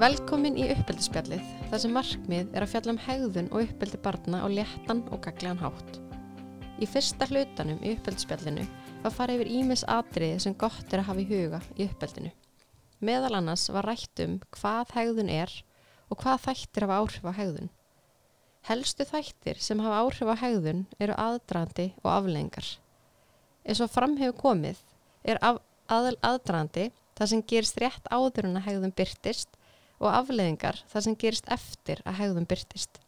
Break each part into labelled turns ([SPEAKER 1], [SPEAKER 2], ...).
[SPEAKER 1] Velkomin í uppeldisspjallið, þar sem markmið er að fjalla um hegðun og uppeldi barna á léttan og gaglegan hátt. Í fyrsta hlutanum í uppeldisspjallinu var farið yfir ímis atriði sem gott er að hafa í huga í uppeldinu. Meðal annars var rætt um hvað hegðun er og hvað þættir hafa áhrif á hegðun. Helstu þættir sem hafa áhrif á hegðun eru aðdrandi og aflengar. Eins og fram hefur komið er af, aðal aðdrandi það sem gerist rétt áður en að hegðun byrtist og afleðingar það sem gerist eftir að hegðun byrtist.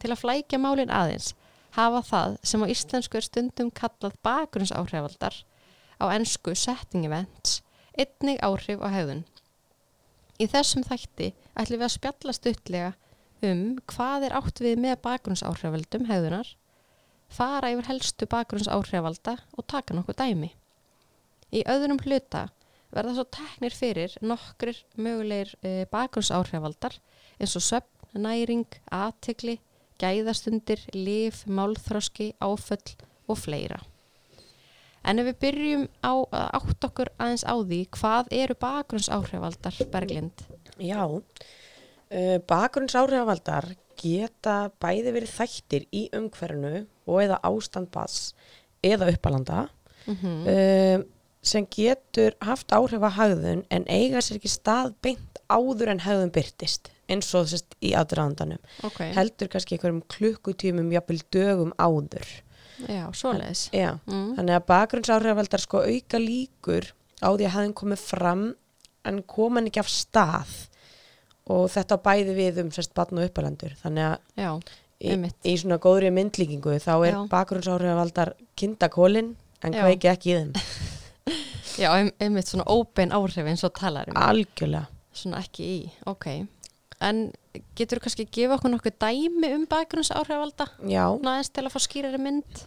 [SPEAKER 1] Til að flækja málin aðeins hafa það sem á íslensku er stundum kallað bakgrunnsáhrifaldar á ennsku setting events einnig áhrif á hegðun. Í þessum þætti ætlum við að spjalla stuttlega um hvað er átt við með bakgrunnsáhrifaldum hegðunar, fara yfir helstu bakgrunnsáhrifalda og taka nokkuð dæmi. Í öðrum hluta verða svo teknir fyrir nokkrir mögulegir e, bakgrunnsáhrifaldar eins og söfn, næring, aðtegli, gæðastundir, líf, málþróski, áföll og fleira. En ef við byrjum á að átt okkur aðeins á því hvað eru bakgrunnsáhrifaldar Berglind?
[SPEAKER 2] Já, uh, bakgrunnsáhrifavaldar geta bæði verið þættir í umhverfinu og eða ástandbass eða uppalanda um, sem getur haft áhrif að hagðun en eiga sér ekki stað beint áður en hagðun byrtist eins og sérst í aðdraðandanum.
[SPEAKER 1] Ok,
[SPEAKER 2] Heldur kannski einhverjum klukkutímum, jafnvel dögum áður.
[SPEAKER 1] já, svoleiðis.
[SPEAKER 2] Já,
[SPEAKER 1] Mm.
[SPEAKER 2] þannig að bakgrunnsáhrifavaldar sko auka líkur á því að hafðin komið fram en kom hann ekki af stað og þetta á bæði við um sérst batn og uppalendur þannig að
[SPEAKER 1] Já,
[SPEAKER 2] í,
[SPEAKER 1] Einmitt.
[SPEAKER 2] í svona góðri myndlíkingu þá er
[SPEAKER 1] Já.
[SPEAKER 2] bakgrunnsáhrifavaldar kindakólin en
[SPEAKER 1] Já.
[SPEAKER 2] kveiki ekki í þeim
[SPEAKER 1] já ein- einmitt svona óbein áhrif eins og talar um.
[SPEAKER 2] algjörlega
[SPEAKER 1] Svona ekki í, ok. En getur þú kannski að gefa okkur nokkuð dæmi um bakgrunnsáhrifalda?
[SPEAKER 2] Já,
[SPEAKER 1] Næðins til að fá skýrari mynd?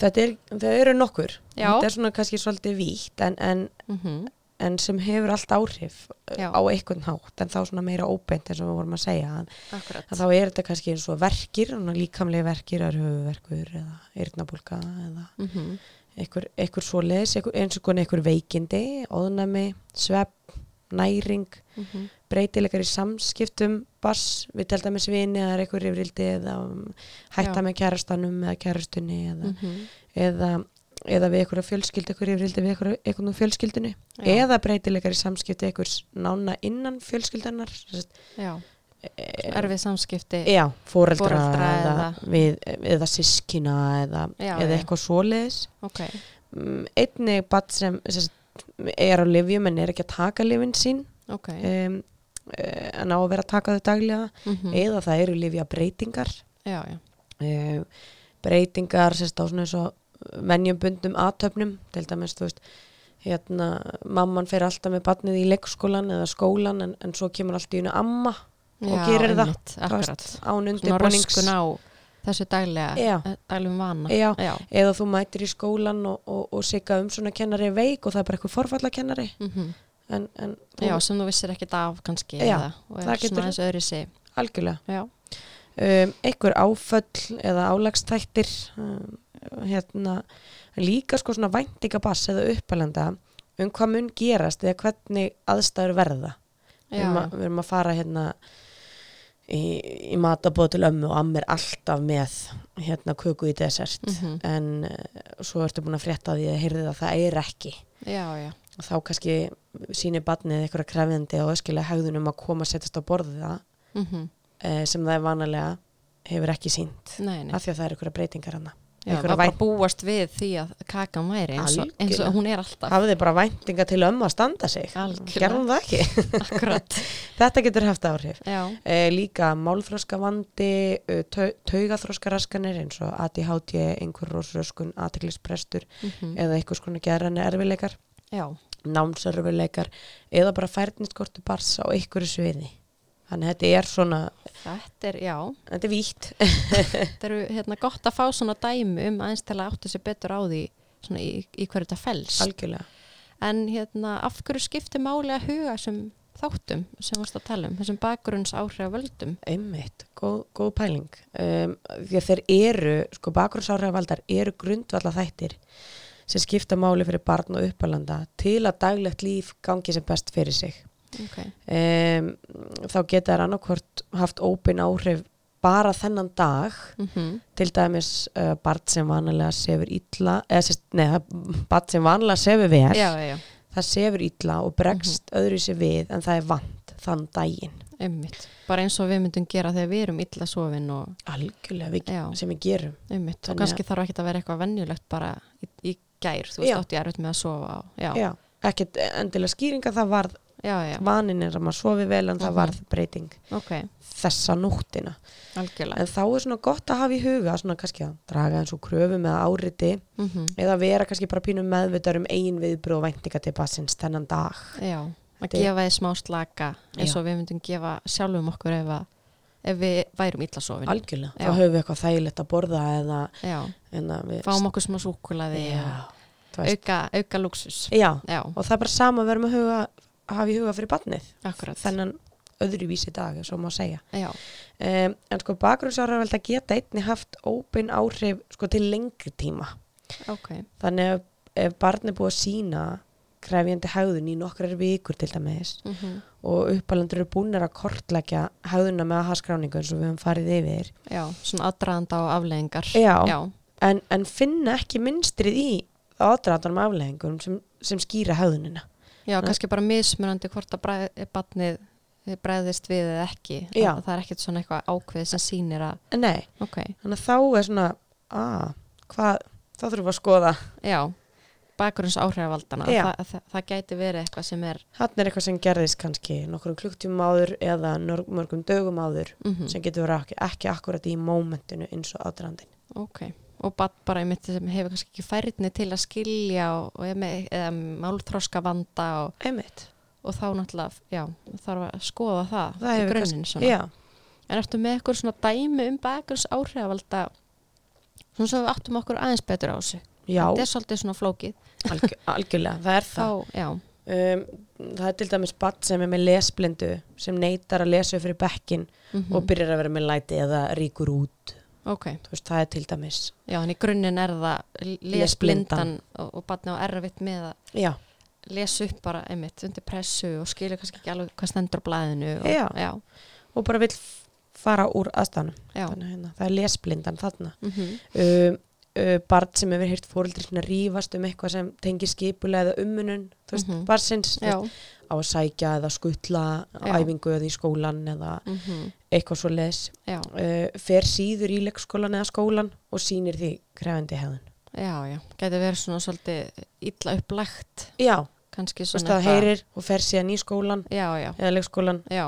[SPEAKER 2] þetta er, það eru nokkur
[SPEAKER 1] Já.
[SPEAKER 2] þetta er svona kannski svolítið vítt en, en,
[SPEAKER 1] Mm
[SPEAKER 2] en sem hefur allt áhrif uh,
[SPEAKER 1] Já.
[SPEAKER 2] á einhvern hátt en þá svona meira óbeint eins og við vorum að segja en
[SPEAKER 1] Akkurat.
[SPEAKER 2] að þá er þetta kannski eins og verkir svona líkamlega verkir, það eru höfuverkur eða eyrnabólka eða
[SPEAKER 1] Mm
[SPEAKER 2] einhver, einhver svoleiðis einhver, eins og konar einhver veikindi, óðnami svepp, næring
[SPEAKER 1] Mhm.
[SPEAKER 2] breytilegar í samskiptum bass, við telda með svini eða er einhver yfirildi eða um, hætta
[SPEAKER 1] Já. Mm.
[SPEAKER 2] með kærastanum eða kærastunni eða,
[SPEAKER 1] Mhm.
[SPEAKER 2] eða, eða við einhverja fjölskyldu einhver yfirildi við einhverja einhverjum fjölskyldinu
[SPEAKER 1] Já.
[SPEAKER 2] eða breytilegar í samskipti einhvers nána innan fjölskyldunar
[SPEAKER 1] Já,
[SPEAKER 2] e,
[SPEAKER 1] erfið samskipti.
[SPEAKER 2] Já, foreldra,
[SPEAKER 1] Foreldra
[SPEAKER 2] eða,
[SPEAKER 1] eða-
[SPEAKER 2] við, eða sískina eða,
[SPEAKER 1] Já,
[SPEAKER 2] eða
[SPEAKER 1] já.
[SPEAKER 2] eitthvað svoleiðis.
[SPEAKER 1] Ok,
[SPEAKER 2] Mm, Einnig bat sem, sem sagt, er á lifjum en er ekki að taka lifin sín
[SPEAKER 1] ok.
[SPEAKER 2] um, en á að vera að taka þau daglega
[SPEAKER 1] Mm
[SPEAKER 2] eða það eru lifja breytingar
[SPEAKER 1] Já, já.
[SPEAKER 2] um, breytingar sérst á svona eins og venjumbundum aðtöfnum til dæmis þú veist hérna, mamman fer alltaf með barnið í leikskólan eða skólan en, en svo kemur alltaf í einu amma og
[SPEAKER 1] Já,
[SPEAKER 2] gerir það
[SPEAKER 1] einmitt, akkurat.
[SPEAKER 2] þú veist, án
[SPEAKER 1] Svona
[SPEAKER 2] undirbúnings
[SPEAKER 1] röskun á þessu daglega,
[SPEAKER 2] Já.
[SPEAKER 1] eh, daglegum vana.
[SPEAKER 2] Já.
[SPEAKER 1] Já.
[SPEAKER 2] eða þú mætir í skólan og, og, og sigga um svona kennari er veik og það er bara eitthvað forfallakennari
[SPEAKER 1] Mhm.
[SPEAKER 2] en, en þú,
[SPEAKER 1] Já, sem þú vissir ekkert af kannski
[SPEAKER 2] Já,
[SPEAKER 1] eða, og er svona
[SPEAKER 2] það getur-
[SPEAKER 1] aðeins öðri sig.
[SPEAKER 2] algjörlega
[SPEAKER 1] Já,
[SPEAKER 2] um, einhver áföll eða álagstættir um, hérna, líka sko svona væntingabass eða uppalenda um hvað mun gerast eða hvernig aðstæður verða við
[SPEAKER 1] já,
[SPEAKER 2] erum,
[SPEAKER 1] já.
[SPEAKER 2] að, við erum að fara hérna í, í matabóð til ömmu og amma er alltaf með hérna köku í desert
[SPEAKER 1] Mhm.
[SPEAKER 2] en uh, svo ertu búin að frétta af því að heyrði að það er ekki
[SPEAKER 1] já, já.
[SPEAKER 2] og þá kannski sýnir barnið einhverja krefjandi og öskilega hegðunum að koma að setjast á borðið það
[SPEAKER 1] Mm
[SPEAKER 2] eh, sem það er vanalega hefur ekki sínt
[SPEAKER 1] Nei, nei.
[SPEAKER 2] af því að það er einhverja breytingar hann
[SPEAKER 1] Já, það var
[SPEAKER 2] einhverja
[SPEAKER 1] bara
[SPEAKER 2] vænt-
[SPEAKER 1] búast við því að kakan væri eins og, eins og
[SPEAKER 2] Algjörlega.
[SPEAKER 1] hún er alltaf.
[SPEAKER 2] hafið þið bara væntinga til ömmu að standa sig
[SPEAKER 1] Algjörlega.
[SPEAKER 2] gerðum það ekki
[SPEAKER 1] Akkurat.
[SPEAKER 2] þetta getur haft áhrif
[SPEAKER 1] Já,
[SPEAKER 2] eh, líka málþróska vandi taugaþróska raskanir eins og ADHD, einhver rósröskun aðteglisprestur eða einhvers konar gerðan erfileikar
[SPEAKER 1] Mhm. já,
[SPEAKER 2] námsörfileikar eða bara færniskortu bars á einhverju sviði þannig að þetta er svona
[SPEAKER 1] þetta er, já,
[SPEAKER 2] þetta er vítt
[SPEAKER 1] þetta eru hérna gott að fá svona dæmi um aðeins til að áttu sér betur á því svona í, í hverju þetta fels
[SPEAKER 2] algjörlega
[SPEAKER 1] en hérna af hverju skiptir máli að huga þessum þáttum sem varst að tala um þessum bakgrunns áhrif völdum
[SPEAKER 2] einmitt, góð, góð pæling um, því að þeir eru sko bakgrunnsárhæfavaldar eru grundvalla þættir sem skipta máli fyrir barn og uppalanda til að daglegt líf gangi sem best fyrir sig
[SPEAKER 1] ok,
[SPEAKER 2] um, þá geta þær annarkvort haft ópin áhrif bara þennan dag
[SPEAKER 1] mm
[SPEAKER 2] til dæmis uh, barn sem vanalega sefur illa eða sérst, nei, það- barn sem vanalega sefur vel
[SPEAKER 1] já, já, já,
[SPEAKER 2] það sefur illa og bregst öðru sér við en það er vant þann daginn
[SPEAKER 1] einmitt bara eins og við myndum gera þegar við erum illa sofin og
[SPEAKER 2] algjörlega við,
[SPEAKER 1] Já.
[SPEAKER 2] sem við gerum
[SPEAKER 1] einmitt og
[SPEAKER 2] Þannig
[SPEAKER 1] kannski þarf ekki að vera eitthvað venjulegt bara í, í gær, þú veist,
[SPEAKER 2] Já.
[SPEAKER 1] átti ég erfitt með að sofa og, já, já,
[SPEAKER 2] Já. ekkert endilega skýringa það varð
[SPEAKER 1] já, já,
[SPEAKER 2] vaninn er að maður sofi vel en það
[SPEAKER 1] Mhm.
[SPEAKER 2] varð breyting
[SPEAKER 1] ok
[SPEAKER 2] þessa nóttina
[SPEAKER 1] algjörlega
[SPEAKER 2] en þá er svona gott að hafa í huga svona kannski að draga eins og kröfu með áriti
[SPEAKER 1] mm
[SPEAKER 2] eða vera kannski bara pínum meðvitaður um eigin viðbröð og væntinga til bassins þennan dag
[SPEAKER 1] já, að
[SPEAKER 2] Þetta er-
[SPEAKER 1] gefa þið smá slaka eins
[SPEAKER 2] Já.
[SPEAKER 1] og við myndum gefa sjálfum okkur ef, að, ef við værum illa sofin
[SPEAKER 2] algjörlega,
[SPEAKER 1] Já.
[SPEAKER 2] þá höfum við eitthvað þægilegt að borða eða,
[SPEAKER 1] já,
[SPEAKER 2] eða við
[SPEAKER 1] fáum okkur smá súkulaði
[SPEAKER 2] Já, þú veist.
[SPEAKER 1] auka, auka luxus
[SPEAKER 2] Já,
[SPEAKER 1] já,
[SPEAKER 2] og það er bara sama að vera með huga, að hafa í huga fyrir barnið
[SPEAKER 1] akkurat
[SPEAKER 2] þennan öðruvísi dag, ef svo má segja
[SPEAKER 1] já,
[SPEAKER 2] um, en sko bakgrunnsárarvelda geta einni haft óbein áhrif sko til lengri tíma
[SPEAKER 1] ok,
[SPEAKER 2] þannig ef, ef barn er búið að sína krefjandi hegðun í nokkrar vikur til dæmis
[SPEAKER 1] mm
[SPEAKER 2] og uppalendur eru búinir að kortleggja hegðuna með að haskráningu eins og við höfum farið yfir
[SPEAKER 1] já, svona aðdraðanda og afleðingar
[SPEAKER 2] Já.
[SPEAKER 1] já,
[SPEAKER 2] en, en finna ekki minnstrið í aðdraðanum afleðingum sem, sem skýra hegðunina.
[SPEAKER 1] já,
[SPEAKER 2] Mm.
[SPEAKER 1] kannski bara mismunandi hvort að bræð, batnið eh, bregðist við eða ekki
[SPEAKER 2] Já.
[SPEAKER 1] það er ekkert svona eitthvað ákveð sem sýnir að
[SPEAKER 2] En nei,
[SPEAKER 1] ok,
[SPEAKER 2] þannig að þá er svona, að, hvað, þá þurfum við að skoða,
[SPEAKER 1] já bakgrunns áhrifavaldana
[SPEAKER 2] Já.
[SPEAKER 1] það, það, það gæti verið eitthvað sem er
[SPEAKER 2] hann er eitthvað sem gerðist kannski nokkrum klukktíma áður eða nor- mörgum dögum áður
[SPEAKER 1] mm
[SPEAKER 2] sem getur verið ekki, ekki akkurat í mómentinu eins og aðdraðandin.
[SPEAKER 1] ok, og bat bara einmitt sem hefur kannski ekki færðni til að skilja og, og er með, eða málþroska vanda og,
[SPEAKER 2] Einmitt.
[SPEAKER 1] og þá náttúrulega já, þarf að skoða það,
[SPEAKER 2] Það
[SPEAKER 1] í
[SPEAKER 2] hefur
[SPEAKER 1] grunninn svona
[SPEAKER 2] Já,
[SPEAKER 1] En ertu með eitthvað svona dæmi um bakgrunns áhrifavalda svona svo við áttum okkur aðeins betur á þessu
[SPEAKER 2] já
[SPEAKER 1] þetta er svolítið svona flókið
[SPEAKER 2] algjör, algjörlega, það er það.
[SPEAKER 1] þá, já,
[SPEAKER 2] Um, það er til dæmis barn sem er með lesblindu sem neytar að lesa fyrir bekkin
[SPEAKER 1] mm
[SPEAKER 2] og byrjar að vera með læti eða ríkur út.
[SPEAKER 1] ok,
[SPEAKER 2] Þú veist, það er til dæmis
[SPEAKER 1] já, en í grunninn er það lesblindan og, og batna á erfitt með að
[SPEAKER 2] Já,
[SPEAKER 1] lesa upp bara einmitt undir pressu og skilja kannski ekki alveg hvað stendur á blæðinu og,
[SPEAKER 2] Já.
[SPEAKER 1] já,
[SPEAKER 2] og bara vill f- fara úr aðstæðanum.
[SPEAKER 1] já.
[SPEAKER 2] Þannig að hérna, það er lesblindan þarna.
[SPEAKER 1] Mm
[SPEAKER 2] Um, uh, barn sem hefur hýrt fóreldri svona rífast um eitthvað sem tengir skipulega eða ummunun, þú veist,
[SPEAKER 1] Mhm.
[SPEAKER 2] barnsins þú
[SPEAKER 1] já,
[SPEAKER 2] veist, á að sækja eða skutla
[SPEAKER 1] Já.
[SPEAKER 2] æfingu eða í skólan eða
[SPEAKER 1] mm
[SPEAKER 2] eitthvað svo les.
[SPEAKER 1] já,
[SPEAKER 2] Uh, fer síður í leikskólan eða skólan og sýnir því krefandi hefðun.
[SPEAKER 1] já, já gæti verið svona svolítið illa upplægt
[SPEAKER 2] Já,
[SPEAKER 1] kannski
[SPEAKER 2] þú veist,
[SPEAKER 1] svona
[SPEAKER 2] það
[SPEAKER 1] eitthvað-
[SPEAKER 2] heyrir og fer síðan í skólan
[SPEAKER 1] já, já,
[SPEAKER 2] eða leikskólan,
[SPEAKER 1] já,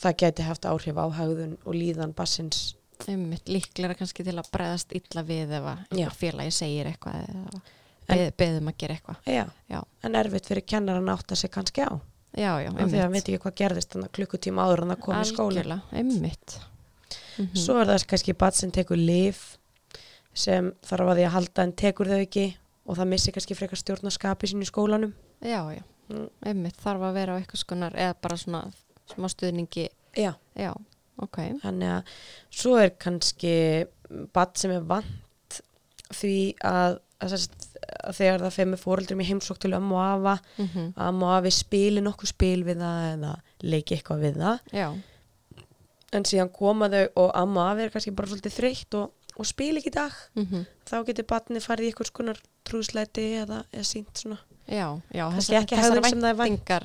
[SPEAKER 2] það gæti haft áhrif á hegðun og líðan barnsins
[SPEAKER 1] einmitt líklega kannski til að bregðast illa við ef að
[SPEAKER 2] Já.
[SPEAKER 1] einhver félagi segir eitthvað eða
[SPEAKER 2] En-
[SPEAKER 1] beð, beðum að gera eitthvað
[SPEAKER 2] Já.
[SPEAKER 1] Já.
[SPEAKER 2] en erfitt fyrir kennaran að átta sig kannski á
[SPEAKER 1] já, já,
[SPEAKER 2] af því að hann veit ekki hvað gerðist þannig að klukkutíma áður en það kom í skóla Mhm.
[SPEAKER 1] Algjörlega, einmitt mm
[SPEAKER 2] svo er það kannski bat sem tekur lif sem þarf að því að halda en tekur þau ekki og það missi kannski frekar stjórnaskapi sín í skólanum
[SPEAKER 1] já, já,
[SPEAKER 2] Mm.
[SPEAKER 1] einmitt þarf að vera á eitthvað skonar eða bara svona smá stuðningi
[SPEAKER 2] Já.
[SPEAKER 1] já, ok,
[SPEAKER 2] þannig að svo er kannski bat sem er vant því að, að, sest, að þegar það fer með fóreldrum í heimsók til ömmu og afa
[SPEAKER 1] mm
[SPEAKER 2] að ömmu og afi spili nokkuð spil við það eða leiki eitthvað við það
[SPEAKER 1] já
[SPEAKER 2] en síðan koma þau og amma og afi er kannski bara svolítið þreytt og, og spil ekki í dag
[SPEAKER 1] mm
[SPEAKER 2] þá getur batnið farið í eitthvað skonar trúsleiti eða, eða sínt svona
[SPEAKER 1] já, já,
[SPEAKER 2] Kannski
[SPEAKER 1] þessar-
[SPEAKER 2] ekki
[SPEAKER 1] þessar
[SPEAKER 2] hegðun sem það er vænt.
[SPEAKER 1] væntingar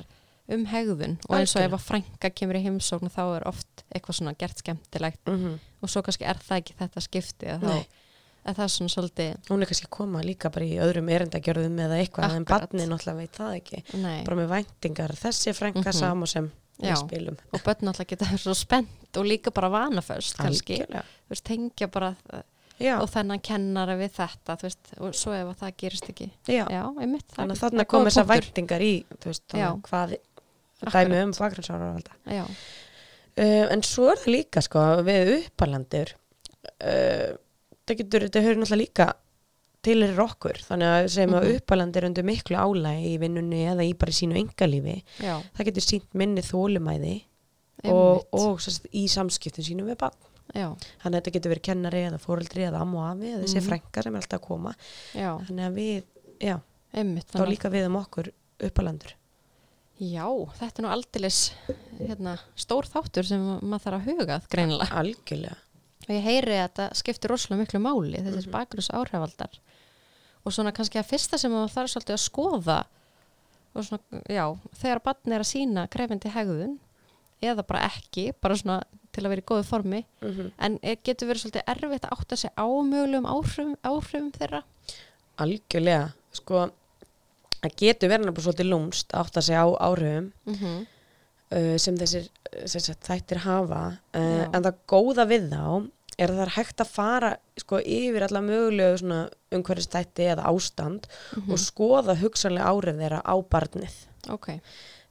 [SPEAKER 1] um hegðun og eins og ef
[SPEAKER 2] Algjörlega.
[SPEAKER 1] að frænka kemur í heimsókn þá er oft eitthvað svona gert skemmtilegt
[SPEAKER 2] mm -hmm.
[SPEAKER 1] og svo kannski er það ekki þetta skipti að þá
[SPEAKER 2] Nei.
[SPEAKER 1] að það er svona svolítið
[SPEAKER 2] hún er kannski að koma líka bara í öðrum erindagjörðum eða eitthvað en
[SPEAKER 1] Akkurat.
[SPEAKER 2] batnið náttúrulega veit það ekki
[SPEAKER 1] Nei,
[SPEAKER 2] bara með væntingar, þessi frænka
[SPEAKER 1] Mhm.
[SPEAKER 2] sama sem
[SPEAKER 1] Já.
[SPEAKER 2] við spilum
[SPEAKER 1] og börn alltaf geta verið svo spennt og líka bara vanaföst kannski,
[SPEAKER 2] Algjörlega.
[SPEAKER 1] þú veist, tengja bara það-
[SPEAKER 2] já,
[SPEAKER 1] og þennan kennara við þetta, þú veist, og svo ef að það gerist ekki.
[SPEAKER 2] já.
[SPEAKER 1] Já, einmitt. það-
[SPEAKER 2] þannig að
[SPEAKER 1] það er
[SPEAKER 2] þarna
[SPEAKER 1] góður
[SPEAKER 2] koma þessar
[SPEAKER 1] punktur.
[SPEAKER 2] væntingar í þú veist,
[SPEAKER 1] Já.
[SPEAKER 2] þannig að hvað
[SPEAKER 1] Akkurat.
[SPEAKER 2] dæmi um bakgrunnsárarvalda
[SPEAKER 1] Já,
[SPEAKER 2] Uh, en svo er það líka sko við uppalendur uh, það getur, þetta höfður náttúrulega líka til er okkur, þannig að sem að
[SPEAKER 1] Mhm.
[SPEAKER 2] uppalendur undir miklu álægi í vinnunni eða í bara sínu engalífi,
[SPEAKER 1] já,
[SPEAKER 2] það getur sínt minni þólumæði
[SPEAKER 1] einmitt.
[SPEAKER 2] og, og sest, í samskiptum sínum við barn
[SPEAKER 1] já,
[SPEAKER 2] þannig að þetta getur verið kennari eða fóreldri eða amma og afi eða þessi mm
[SPEAKER 1] Mhm.
[SPEAKER 2] frænka sem er alltaf að koma
[SPEAKER 1] já,
[SPEAKER 2] þannig að við, já,
[SPEAKER 1] einmitt.
[SPEAKER 2] þá
[SPEAKER 1] Þannig,
[SPEAKER 2] líka við um okkur uppalendur
[SPEAKER 1] Já, þetta er nú aldeilis hérna, stór þáttur sem maður þarf að huga að greinilega.
[SPEAKER 2] algjörlega
[SPEAKER 1] Og ég heyri að þetta skiptir rosalega miklu máli, þessir mm -hmm. áhrifaldar. Og svona kannski að fyrsta sem maður þarf svolítið að skoða, og svona, já, þegar barn er að sína krefindi hegðun, eða bara ekki, bara svona til að vera í góðu formi,
[SPEAKER 2] mm
[SPEAKER 1] en er- getur verið svolítið erfitt að átta sig á mögulegum áhrifum, áhrifum þeirra.
[SPEAKER 2] algjörlega sko, það getur verið nefnilega svolítið lúmst að átta sig á áhrifum
[SPEAKER 1] Mm -hmm.
[SPEAKER 2] uh, sem þessir uh, sem sagt, þættir hafa uh,
[SPEAKER 1] Já.
[SPEAKER 2] en það góða við þá er að það er hægt að fara sko, yfir alla mögulegu svona umhverfistætti eða ástand og skoða hugsanlega áhrif þeirra á barnið
[SPEAKER 1] Mhm. Ok,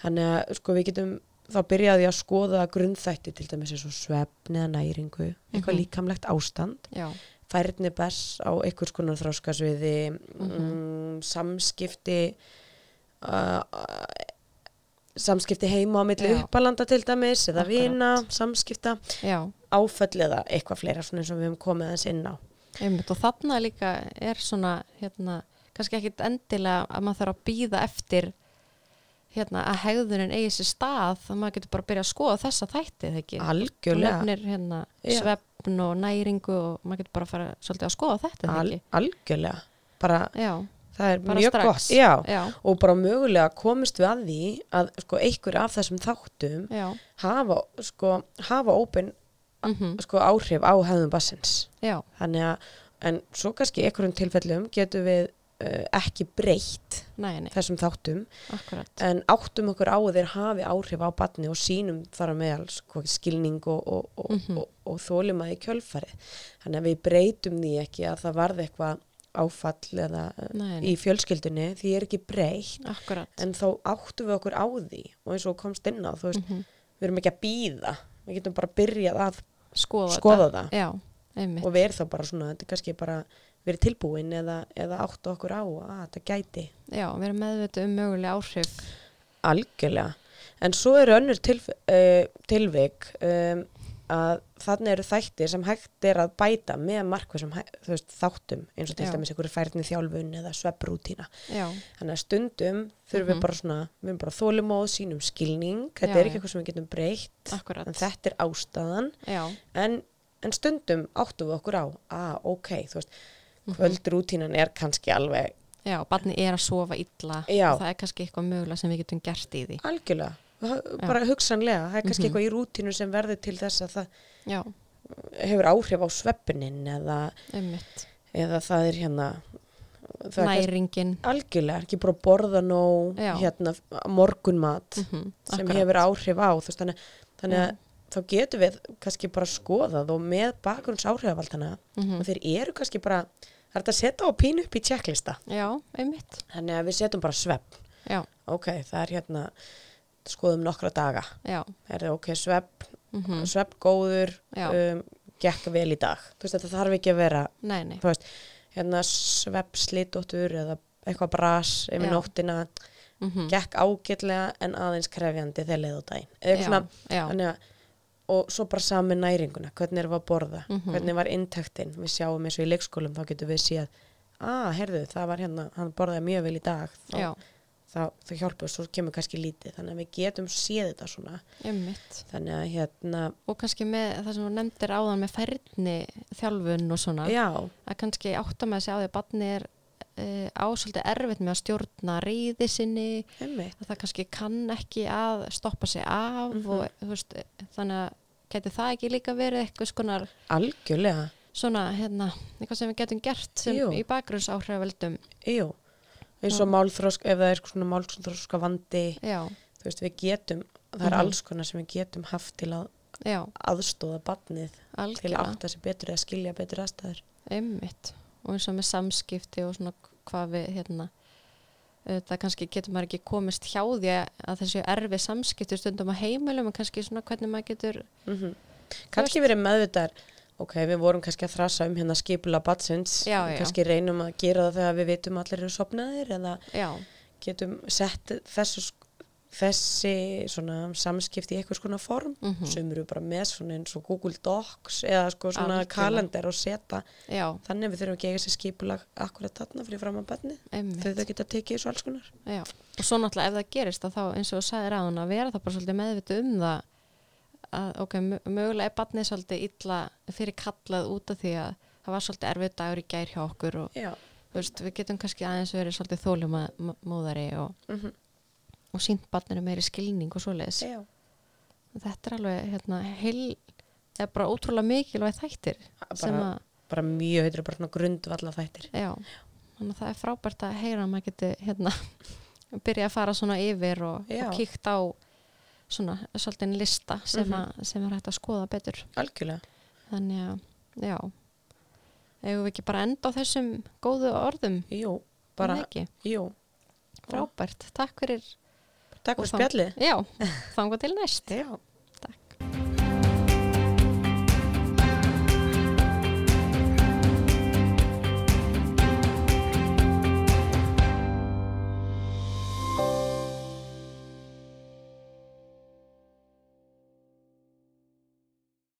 [SPEAKER 2] þannig að sko, við getum þá byrjaði að skoða grunnþætti til dæmis eins og svefn eða næringu eitthvað
[SPEAKER 1] Mhm.
[SPEAKER 2] líkamlegt ástand
[SPEAKER 1] já,
[SPEAKER 2] færni bers á einhvers konar þráskasviði
[SPEAKER 1] Mhm.
[SPEAKER 2] mm, samskipti uh, samskipti heima á milli
[SPEAKER 1] Já.
[SPEAKER 2] uppalanda til dæmis eða
[SPEAKER 1] Akkurat.
[SPEAKER 2] vina, samskipta
[SPEAKER 1] já,
[SPEAKER 2] áföll eða eitthvað fleira svona eins og við höfum komið aðeins inn á
[SPEAKER 1] einmitt og þarna líka er svona, hérna, kannski ekkit endilega að maður þarf að býða eftir hérna, að hegðunin eigi sér stað þannig að maður getur bara að byrja að skoða þessa þætti eða ekki. Þú
[SPEAKER 2] algjörlega,
[SPEAKER 1] nefnir hérna
[SPEAKER 2] Já.
[SPEAKER 1] svefn og næringu og maður getur bara að fara svolítið að skoða þetta eða
[SPEAKER 2] al,
[SPEAKER 1] ekki.
[SPEAKER 2] algjörlega bara,
[SPEAKER 1] Já,
[SPEAKER 2] það er
[SPEAKER 1] bara
[SPEAKER 2] mjög
[SPEAKER 1] strax.
[SPEAKER 2] gott já.
[SPEAKER 1] já,
[SPEAKER 2] og bara mögulega komist við að því að sko, einhver af þessum þáttum
[SPEAKER 1] já,
[SPEAKER 2] hafa, sko, hafa ópen
[SPEAKER 1] mhm,
[SPEAKER 2] sko, áhrif á hefðum bassins
[SPEAKER 1] já,
[SPEAKER 2] þannig að, en svo kannski í einhverjum tilfellum getum við uh, ekki breytt
[SPEAKER 1] næni,
[SPEAKER 2] þessum þáttum
[SPEAKER 1] akkurat,
[SPEAKER 2] en áttum okkur á að þeir hafi áhrif á batni og sínum þar að meðal sko, skilning og, og, og,
[SPEAKER 1] Mhm.
[SPEAKER 2] og, og þólum að í kjölfarið þannig að við breytum því ekki að það varði eitthvað áfall eða Nei.
[SPEAKER 1] næni,
[SPEAKER 2] í fjölskyldunni því er ekki breytt
[SPEAKER 1] akkurat,
[SPEAKER 2] en þá áttum við okkur á því og eins og komst inn á þú veist,
[SPEAKER 1] mhm,
[SPEAKER 2] við erum ekki að býða við getum bara að byrja að
[SPEAKER 1] skoða,
[SPEAKER 2] skoða það
[SPEAKER 1] þetta. Já, einmitt.
[SPEAKER 2] og við erum þá bara svona, þetta er kannski bara verið tilbúin eða, eða áttu okkur á að þetta gæti.
[SPEAKER 1] Já, við erum meðvitið um möguleg áhrif.
[SPEAKER 2] Algjörlega. En svo eru önnur tilf, uh, tilvik um, að þannig eru þættir sem hægt er að bæta með markvissum hæ- þú veist, þáttum eins og til
[SPEAKER 1] Já.
[SPEAKER 2] dæmis einhverju færni þjálfun eða svepprútína.
[SPEAKER 1] Já,
[SPEAKER 2] Þannig að stundum þurfum
[SPEAKER 1] Mhm.
[SPEAKER 2] við bara svona, við erum bara þólumóð, sínum skilning,
[SPEAKER 1] Já,
[SPEAKER 2] þetta er
[SPEAKER 1] já.
[SPEAKER 2] ekki eitthvað sem við getum breytt,
[SPEAKER 1] akkurat.
[SPEAKER 2] en þetta er ástæðan
[SPEAKER 1] Já,
[SPEAKER 2] en, en stundum áttum við okkur á að ok, þú veist
[SPEAKER 1] Mhm.
[SPEAKER 2] kvöldrútínan er kannski alveg
[SPEAKER 1] já, barni er að sofa illa
[SPEAKER 2] E- Já.
[SPEAKER 1] og það er kannski eitthvað mögulega sem við getum gert í því.
[SPEAKER 2] algjörlega, það- bara hugsanlega það er
[SPEAKER 1] Mhm.
[SPEAKER 2] kannski eitthvað í rútínu sem verður til þess að það
[SPEAKER 1] Já,
[SPEAKER 2] hefur áhrif á sveppinin eða,
[SPEAKER 1] ummitt.
[SPEAKER 2] eða það er hérna það er kannski
[SPEAKER 1] Næringin,
[SPEAKER 2] algjörlega, ekki bara að borða nóg
[SPEAKER 1] Já.
[SPEAKER 2] hérna morgunmat
[SPEAKER 1] mhm,
[SPEAKER 2] sem
[SPEAKER 1] akkurat.
[SPEAKER 2] hefur áhrif á þú veist, þannig, þannig að þá getum við kannski bara skoðað og með bakgrunns áhrifavaldana
[SPEAKER 1] Mhm.
[SPEAKER 2] og þeir eru kannski bara það er hægt að setja á pínu upp í checklista
[SPEAKER 1] Já, ummitt.
[SPEAKER 2] Þannig að við setjum bara svepp.
[SPEAKER 1] Já,
[SPEAKER 2] Ok, það er hérna, skoðum nokkra daga.
[SPEAKER 1] já,
[SPEAKER 2] Er það ok, svepp,
[SPEAKER 1] mhm,
[SPEAKER 2] svepp góður,
[SPEAKER 1] Já.
[SPEAKER 2] um, gekk vel í dag. Þú veist, þetta þarf ekki að vera,
[SPEAKER 1] nei, nei,
[SPEAKER 2] þú veist, hérna svepp slítóttur eða eitthvað bras yfir
[SPEAKER 1] Já.
[SPEAKER 2] nóttina,
[SPEAKER 1] mhm.
[SPEAKER 2] gekk ágætlega en aðeins krefjandi þegar leið á daginn. Eða
[SPEAKER 1] Já,
[SPEAKER 2] svona,
[SPEAKER 1] já,
[SPEAKER 2] þannig að, og svo bara saman næringuna, hvernig erum við að borða,
[SPEAKER 1] Mhm.
[SPEAKER 2] hvernig var intaktin, við sjáum eins og í leikskólum, þá getum við séð, að, ah, herðu, það var hérna, hann borðaði mjög vel í dag, þá
[SPEAKER 1] já,
[SPEAKER 2] þá, þá hjálpa og svo kemur kannski lítið þannig að við getum séð þetta svona
[SPEAKER 1] ummitt.
[SPEAKER 2] þannig að hérna,
[SPEAKER 1] Og kannski með það sem þú nefndir áðan með færni þjálfun og svona,
[SPEAKER 2] já,
[SPEAKER 1] að kannski átta með þessi á því að barni er uh, á svolítið erfitt með að stjórna reyði sinni,
[SPEAKER 2] einmitt
[SPEAKER 1] að það kannski kann ekki að stoppa sig af
[SPEAKER 2] Mhm.
[SPEAKER 1] og þú veist, þannig að geti það ekki líka verið eitthvað skonar
[SPEAKER 2] algjörlega,
[SPEAKER 1] svona hérna, eitthvað sem við getum gert sem
[SPEAKER 2] Jú.
[SPEAKER 1] í bakgrunnsáhrifavöldum
[SPEAKER 2] jú eins og málþrósk, ef það er svona málþróska vandi,
[SPEAKER 1] já,
[SPEAKER 2] þú veist, við getum það er
[SPEAKER 1] Mhm.
[SPEAKER 2] alls konar sem við getum haft til að
[SPEAKER 1] já,
[SPEAKER 2] aðstóða batnið til að
[SPEAKER 1] algjörlega
[SPEAKER 2] átta sig betur eða skilja betur aðstæður
[SPEAKER 1] einmitt og eins og með samskipti og svona hvað við hérna það kannski getur maður ekki komist hjá því að að þessi erfi samskipti stundum á heimilum og kannski svona hvernig maður getur
[SPEAKER 2] mm kannski verið meðvitaðar ok, við vorum kannski að þrasa um hérna skipula batsins,
[SPEAKER 1] Já, já.
[SPEAKER 2] kannski reynum að gera það þegar við vitum allir eru sopnaðir eða
[SPEAKER 1] já,
[SPEAKER 2] getum sett þessu sk- þessi svona samskipti í eitthvað skona form mm
[SPEAKER 1] Mhm.
[SPEAKER 2] sem eru bara með svona eins og Google Docs eða sko svona
[SPEAKER 1] Algjörlega.
[SPEAKER 2] kalender og seta
[SPEAKER 1] já,
[SPEAKER 2] þannig að við þurfum að gega sér skipulag akkurat þarna fyrir fram að benni
[SPEAKER 1] einmitt
[SPEAKER 2] þau þau geta tekið þessu alls konar
[SPEAKER 1] já. og svo náttúrulega ef það gerist að þá eins og þú sagði ráðan að vera það bara svolítið meðvitu um það að ok, mö- mögulega er barnið svolítið illa fyrir kallað út af því að það var svolítið erfið dagur í gær hjá okkur og
[SPEAKER 2] Já,
[SPEAKER 1] þú veist, við getum kannski aðeins verið svolítið þólumóðari og, og sínt barninu meiri skilning og svoleiðis
[SPEAKER 2] Mhm. já.
[SPEAKER 1] þetta er alveg hérna heil, það er bara ótrúlega mikilvæg þættir
[SPEAKER 2] Bara-
[SPEAKER 1] sem að,
[SPEAKER 2] bara mjög, þetta er bara svona grundvalla þættir
[SPEAKER 1] já þannig að það er frábært að heyra að maður geti hérna, byrja að fara svona yfir og,
[SPEAKER 2] Já.
[SPEAKER 1] og kíkt á svona svolítið lista sem, að, sem er hægt að skoða betur
[SPEAKER 2] algjörlega
[SPEAKER 1] þannig að, já eigum við ekki bara að enda á þessum góðu orðum,
[SPEAKER 2] Jú,
[SPEAKER 1] er það
[SPEAKER 2] bara,
[SPEAKER 1] ekki
[SPEAKER 2] jú,
[SPEAKER 1] frábært, takk fyrir
[SPEAKER 2] takk
[SPEAKER 1] Og
[SPEAKER 2] fyrir
[SPEAKER 1] þang-
[SPEAKER 2] spjallið
[SPEAKER 1] já, þanga til næst
[SPEAKER 2] Já